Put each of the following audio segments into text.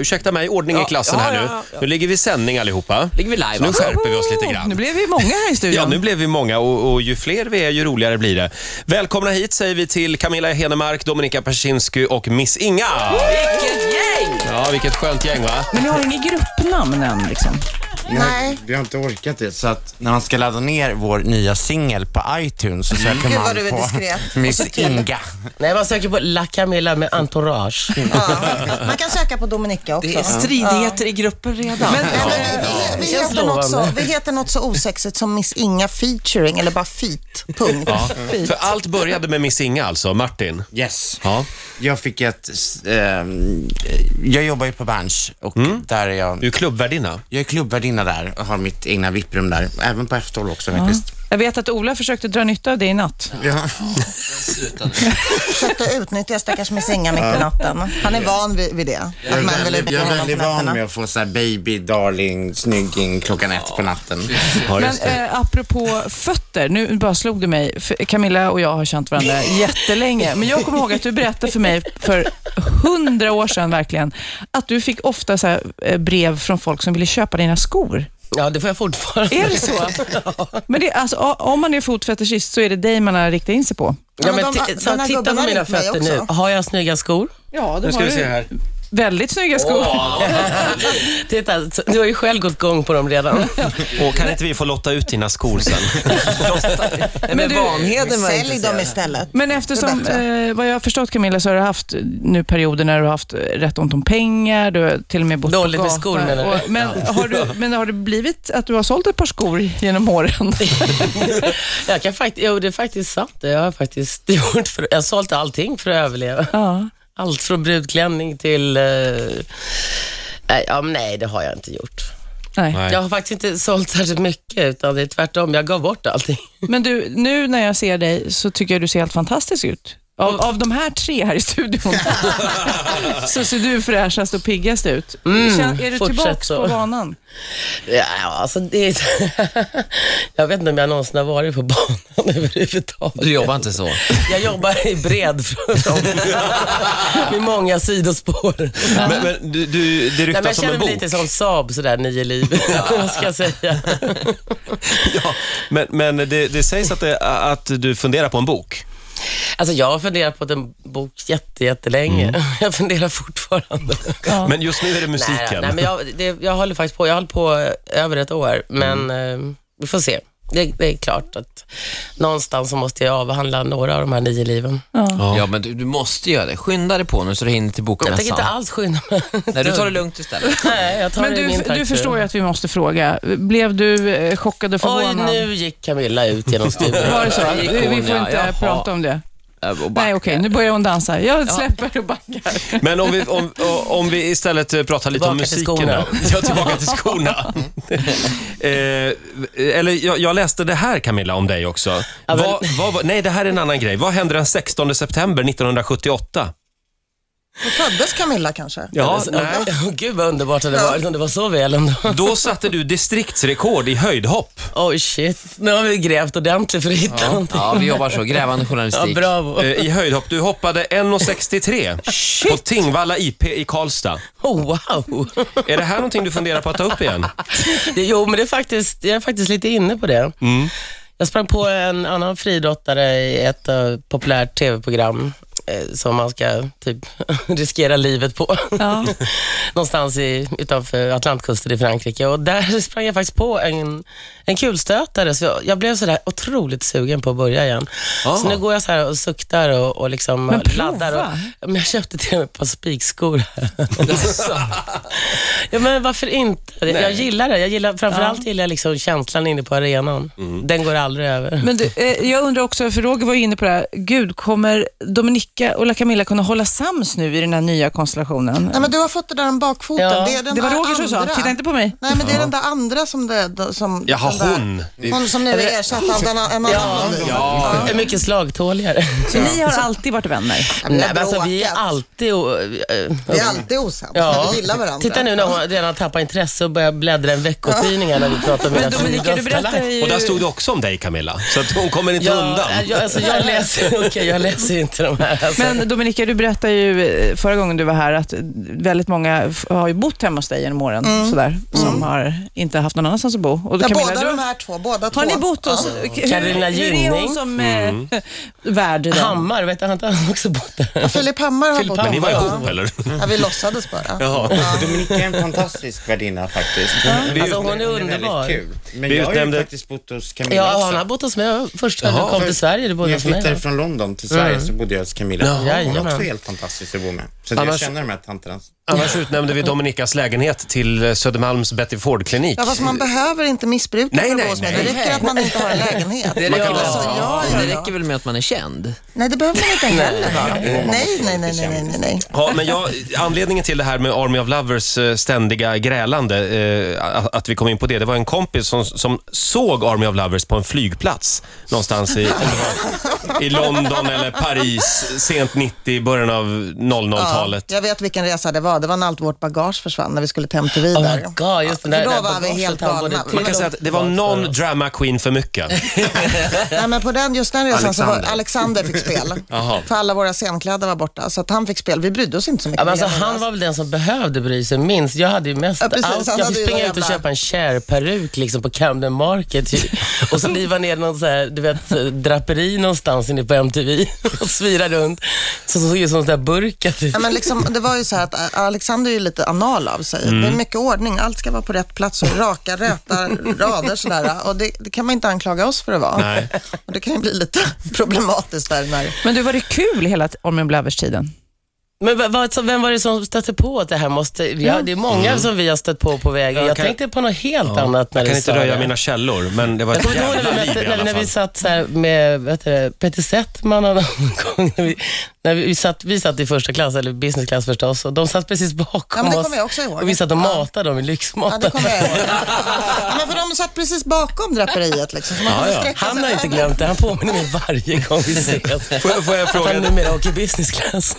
Ursäkta mig, ordning i Ja, klassen ja, här ja, nu. ja, ja. Nu ligger vi i sändning allihopa. Ligger vi live Så nu alltså? skärper vi oss lite Nu grann. blev vi många här i studion. Ja, nu blev vi många och, och ju fler vi är, ju roligare blir det. Välkomna hit säger vi till Camilla Henemark, Dominika Persinsky och Miss Inga. Vilket gäng! Ja, vilket skönt gäng va? Men ni har inget gruppnamn än liksom. Vi har, vi har inte orkat det, så att när man ska ladda ner vår nya singel på iTunes så söker Gud, vad man du är på diskret. Miss Inga. Nej, man söker på La Camilla med entourage. Ja. Man kan söka på Dominika också. Det är stridigheter i gruppen redan. Men, eh, Nej, men vi, vi, vi, Känns heter något så, lovande. vi heter något så osexigt som Miss Inga featuring, eller bara feet. Punkt. Ja. För allt började med Miss Inga alltså, Martin. Yes. Ja. Jag fick ett... ehm, jag jobbar ju på Berns och där är Du jag... är klubbvärdinna. Jag är klubbvärdinna där och har mitt egna VIP-rum där. Även på F12 också faktiskt. jag vet att Ola försökte dra nytta av det i natt. Ja. Försökte utnyttja stackars Miss Inga mitt i natten. Han är van vid, vid det. Jag är Att män vill väldigt, utnyttja jag är honom väldigt på van nätterna. med att få så här baby, darling, snygging klockan ett på natten. Ja, Men just det. eh, apropå fötter, nu bara slog du mig. För Camilla och jag har känt varandra jättelänge, men jag kommer ihåg att du berättade för mig för hundra år sedan verkligen, att du fick ofta så här, eh, brev från folk som ville köpa dina skor. Ja, det får jag fortfarande. Är det så? Men det, är alltså, o- om man är fotfetischist så är det dig man har riktat in sig på. Ja, men Ja, men de- ti- de så här titta gubbarna på mina ringt mig fötter nu. också. Har jag snygga skor? Ja, Nu du ska har vi se ju här. väldigt snygga skor. Titta, så- du har ju själv gått gång på dem redan. Och kan inte vi få lotta ut dina skor sen? Nej, men du- Vanheden var Sälj dem intresserad. istället. Men Det är eftersom, bättre. eh, vad jag har förstått Camilla, så har du haft nu perioder när du har haft eh, rätt ont om pengar, du har till och med bott Dåligt på med gatan. skor, menar du? och, men, har du, men har det blivit att du har sålt ett par skor genom åren? jag kan faktiskt, jo, det är faktiskt sant. Jag har faktiskt gjort, för, jag har sålt allting för att överleva. ja. Allt från brudklänning till... eh, nej, ja, men nej, det har jag inte gjort. Nej. Nej. Jag har faktiskt inte sålt särskilt mycket, utan det är tvärtom. Jag gav bort allting. Men du, nu när jag ser dig så tycker jag du ser helt fantastisk ut. Av, av de här tre här i studion så ser du fräschast och piggast ut. Kän, är du fortsätt tillbaks så. på banan? Ja, alltså det är... Jag vet inte om jag någonsin har varit på banan överhuvudtaget. Du jobbar inte så. Jag jobbar i bred front med många sidospår. Men, men du, du, det Nej, men jag ryktas om känner en mig bok. lite som Saab sådär, nio liv. Vad ska jag säga? Ja. Men, men det, det sägs att, det, att du funderar på en bok. Alltså jag har funderat på en bok jätte, jättelänge. Jag funderar fortfarande. Men just nu är det musiken. Nej, nej, men jag, det, jag håller faktiskt på. Jag har hållit på över ett år, men eh, vi får se. Det, det är klart att någonstans så måste jag avhandla några av de här nio liven. Ja, men du, du måste göra det. Skynda dig på nu så du hinner till Jag tänker bokmässan. inte alls skynda mig. Nej, du tar det lugnt istället. Nej, jag tar Men det i min du, du takt. förstår ju att vi måste fråga. Blev du eh, chockad och Oj, förvånad? nu gick Camilla ut genom studion. Var det så? Där gick Vi, vi hon, får ja. inte Jaha. prata om det. Äh, och back. Nej, okej, nu börjar hon dansa. Jag släpper och backar. Men om vi, om, om vi istället eh, pratar lite om Tillbaka till musiken. skorna. här. Ja, tillbaka till skorna. eh, eller jag, jag läste det här Camilla om dig också. Ja, men- vad, vad, var- nej, det här är en annan grej. Vad hände den 16 september 1978? Då föddes Camilla kanske? Ja, Alltså, Eh, nej. åh, Gud vad underbart det hade varit om det var så väl ändå. Då satte du distriktsrekord i höjdhopp. Oj shit, nu har vi grävt ordentligt för att hitta någonting. Ja, vi jobbar så. Grävande Ja, journalistik. bravo. Eh, I höjdhopp. Du hoppade 1,63 på Tingvalla IP i Karlstad. Oh, wow. Är det här någonting du funderar på att ta upp igen? Det, jo, men det är faktiskt, jag är faktiskt lite inne på det. Jag sprang på en annan friidrottare i ett eh, populärt tv-program eh, som man ska typ riskera livet på. Ja. Någonstans i, utanför Atlantkusten i Frankrike. Och där sprang jag faktiskt på en, en kulstötare, så jag, jag blev sådär otroligt sugen på att börja igen. Så nu går jag så här och suktar och, och liksom Men prova. laddar. Och, men jag köpte till och med ett par spikskor. Ja, men varför inte? Jag gillar det. Jag gillar, framförallt gillar jag liksom känslan inne på arenan. Mm. Den går aldrig över. Men du, eh, jag undrar också, för Roger var ju inne på det här, gud, kommer Dominika och La Camilla kunna hålla sams nu i den här nya konstellationen? Nej, men du har fått det där om bakfoten. Ja. Det, är den Det var där Roger som sa, andra. titta inte på mig. Nej, men det är den där andra som det... Som, Jaha, den där- hon. Hon som nu är ersatt av den, en annan. Ja. Jag är mycket slagtåligare. Så ni har alltid varit vänner? men Nej, men alltså, vi är bråkat. alltid... Och, eh, Vi är alltid osams, Ja. men vi gillar varandra. Titta nu när hon redan tappar intresse och börjar bläddra i en veckortidningar när vi pratar om mina Men Dominika, du berättade friidrottstalanger. ju... Och där stod det också om dig Camilla, så att hon kommer inte Ja, undan. jag, alltså jag, läser, okay, jag läser inte de här Alltså. Men Dominika, du berättade ju eh, förra gången du var här att väldigt många f- har ju bott hemma hos dig genom åren, sådär, som har inte haft någon annanstans att bo. Och Mm. Ja, Camilla, båda du- de här två. Båda två. Har ni bott hos... Hur, hur Carolina är Gynning. hon som eh, värd idag? Hammar, vet du, har inte han också bott där? Ja, Filip Hammar har Filip bott Hammar. Men ni var Ja. ihop eller? Ja, vi låtsades bara. Dominika är en fantastisk värdinna faktiskt. Hon Alltså, hon är väldigt underbar. kul. Men Vi jag har utnämnde- ju faktiskt bott hos Camilla Ja, också. han har bott hos mig först när du Jaha. kom till Sverige. Du När bodde jag hos mig. flyttade från London till Sverige så bodde jag hos Camilla. Hon Jajamän. var också helt fantastisk att bo med. Så Annars- jag känner de här tanterna. Annars utnämnde vi Dominikas lägenhet till eh, Södermalms Betty Ford-klinik. Ja, fast man behöver inte missbruka Nej, för att nej, gå hos mig. Det nej. räcker att man inte har en lägenhet. Det, ja. Alltså, ja, ja, det ja. räcker väl med att man är känd? Nej, det behöver man inte heller va? Nej, nej, nej, nej, nej, nej, nej. Ja, men jag, anledningen till det här med Army of Lovers eh, ständiga grälande, eh, att- att vi kom in på det, det var en kompis som, som såg Army of Lovers på en flygplats någonstans i, om det var i London eller Paris, sent 90, början av 00-talet. Ja, jag vet vilken resa det var. Det var när allt vårt bagage försvann när vi skulle till MTV Oh där. my god, just det där, För där då var vi bagaget helt han bodde galna. till. Man kan säga att det var någon drama queen för mycket. Nej, men på den, just den resan så var Alexander. Alexander fick spel. Jaha. För alla våra scenkläder var borta. Så att han fick spel. Vi brydde oss inte så mycket. Ja, men alltså, om det. han var väl den som behövde bry sig minst. Jag hade ju mest Ja, precis. allt. Han Jag hade fick ju springa någon ut och jävla- köpa en Cher-peruk liksom, på Camden Market ju. och så liva ner någon så här, du vet, draperi någonstans inne på MTV och svira runt. Så så såg ut som en sån där burka. Typ. Ja, men liksom, det var ju så här att eh, Alexander är ju lite anal av sig. Mm. Det är mycket ordning. Allt ska vara på rätt plats och raka, räta rader sådär. Och det, det kan man inte anklaga oss för att vara. Nej. Och det kan ju bli lite problematiskt där när... Men du, var det kul hela t- Ormen Blavers-tiden? Men vad- vad- så vem var det som stötte på att det här måste... Ja, det är många som vi har stött på på vägen. Mm. Ja, Jag kan- tänkte på något helt annat när Jag kan du inte sa röja det. mina källor, men det var ett Jag kommer ihåg jävla när vi, liv mötte, i när, alla när vi fall. satt så här med vad heter det, Peter Settman och någon gång. När vi, när vi, vi, satt, vi satt i första klass, eller business class förstås, och de satt precis Ja, bakom men det oss. kommer jag också ihåg. Och vi satt och Ja. matade dem i Ja, det lyxmaten. kommer jag ihåg. Ja, men för de satt precis bakom draperiet liksom. Så man kunde ja. sträcka sig han har inte över. glömt det. Han påminner mig varje gång vi ses. Får jag, får jag Att fråga han numera åker business class.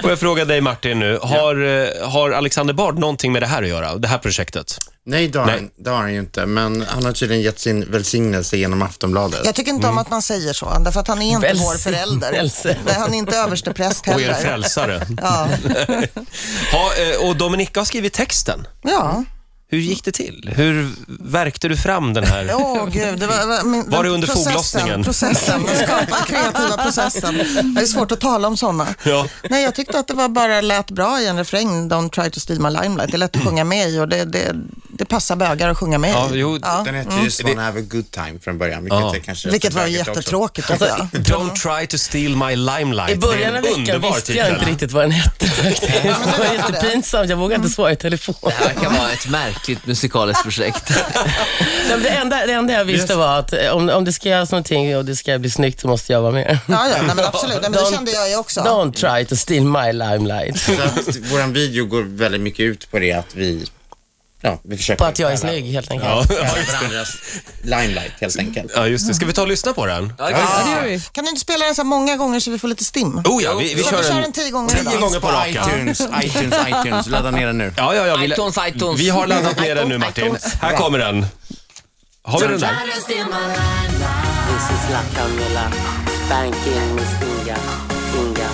Får jag fråga dig Martin nu, har, eh, har Alexander Bard någonting med det här att göra, det här projektet? Nej, det har Nej. han- det har han ju inte. Men han har tydligen gett sin välsignelse genom Aftonbladet. Jag tycker inte Mm. om att man säger så, därför att han är inte vår förälder. Välsignelse. Nej, han är inte överstepräst Och er heller. frälsare. Ja. ha, eh, och Dominika har skrivit texten. ja. Hur gick det till? Hur värkte du fram den här? Åh gud, det var, var, min, Var det under processen, foglossningen? Processen, den skapa- kreativa processen. Det är svårt att tala om sådana. Ja. Nej, jag tyckte att det var bara lät bra i en refräng, Don't try to steal my limelight. Det är lätt att sjunga med i och det, det, det passar bögar att sjunga med i. Ja, jo, Den hette ju Swan Have a good time från början, vilket, Ja. är kanske Vilket var bögigt också. jättetråkigt tycker jag. Don't try to steal my limelight. I början Det av är en veckan underbar visste jag titel. inte riktigt vad den hette faktiskt. Det var jättepinsamt. Jag vågade Mm. inte svara i telefon. Det här kan vara ett märkligt musikaliskt projekt. Nej, men Det enda, det enda jag visste var att eh, om, om det ska göras någonting och det ska bli snyggt så måste jag vara med. Ja, ja, nej, men absolut. Nej, men det Don't- kände jag ju också. Don't try to steal my limelight. Så att våran video går väldigt mycket ut på det att vi, ja, vi försöker... På att jag är stjäla- snygg helt enkelt. Ja, stjäla varandras limelight helt enkelt. ja, just det. Ska vi ta och lyssna på den? Ja, det gör vi. Kan du inte spela den så här många gånger så vi får lite stim? Oh ja, vi, vi så vi kör kör en... den tio gånger Tio idag. gånger på raken. iTunes, iTunes, iTunes. Ladda ner den nu. Ja, ja, ja, vi, iTunes, iTunes. vi har laddat ner den nu Martin. iTunes. Här kommer den. Har vi den där? This is La Camilla, spanking Miss Inga, Inga.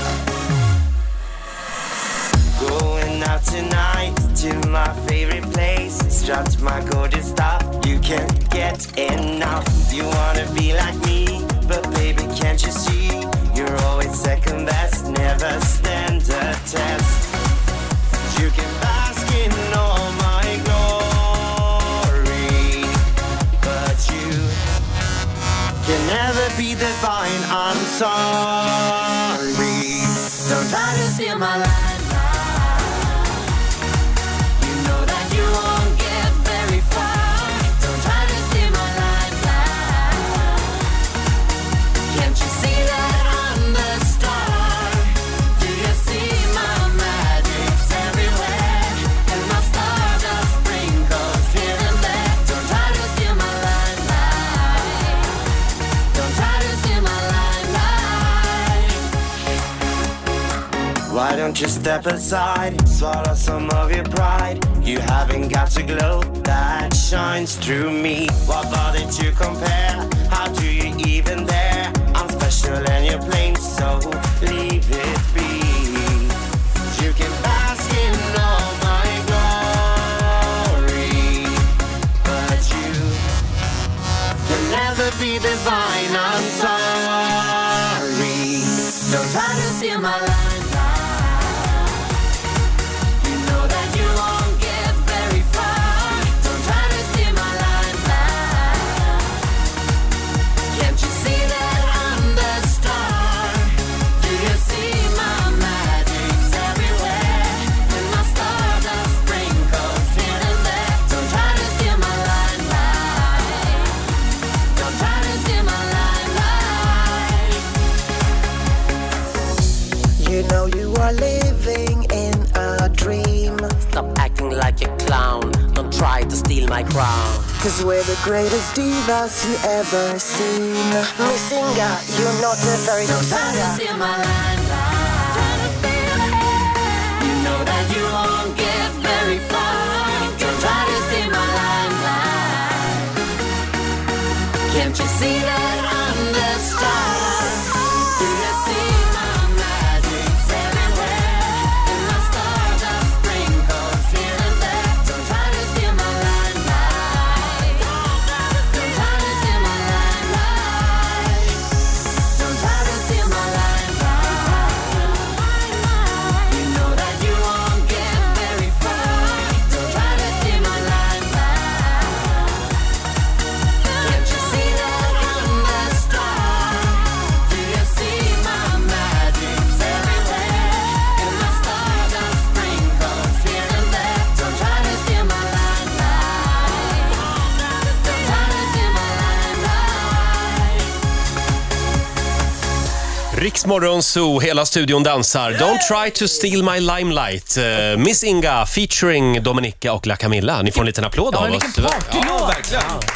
Going out tonight to my favorite place. Strapped my golden stuff, you can't get enough. You wanna be like me, but baby, can't you see? You're always second best, never stand a test. You can bask in all my glory, but you can never be divine. I'm sorry. Don't try to Why don't you step aside, swallow some of your pride? You haven't got to glow that shines through me. What bother to compare? How do you even dare? I'm special and you're plain, so leave You know you are living in a dream. Stop acting like a clown. Don't try to steal my crown. Cause we're the greatest divas you ever seen. Miss Inga, you're not a very good singer. Can't you see that I'm the star? Do you see my magic's everywhere? And my stardust sprinkles here and there. Don't try to steal my limelight. Don't try to steal my limelight. Don't try to steal my limelight. You know that you won't get very far. Don't try to steal my limelight. Can't you see that I'm the star? Do you see my magic's everywhere? And my stardust sprinkles here and there. Don't try to steal my limelight. Don't try to steal my limelight. Riksmorgon Zoo, hela studion dansar. Don't try to steal my limelight. Eh, Miss Inga featuring Dominika och La Camilla. Ni får en liten applåd av oss. vilken partylåt! verkligen.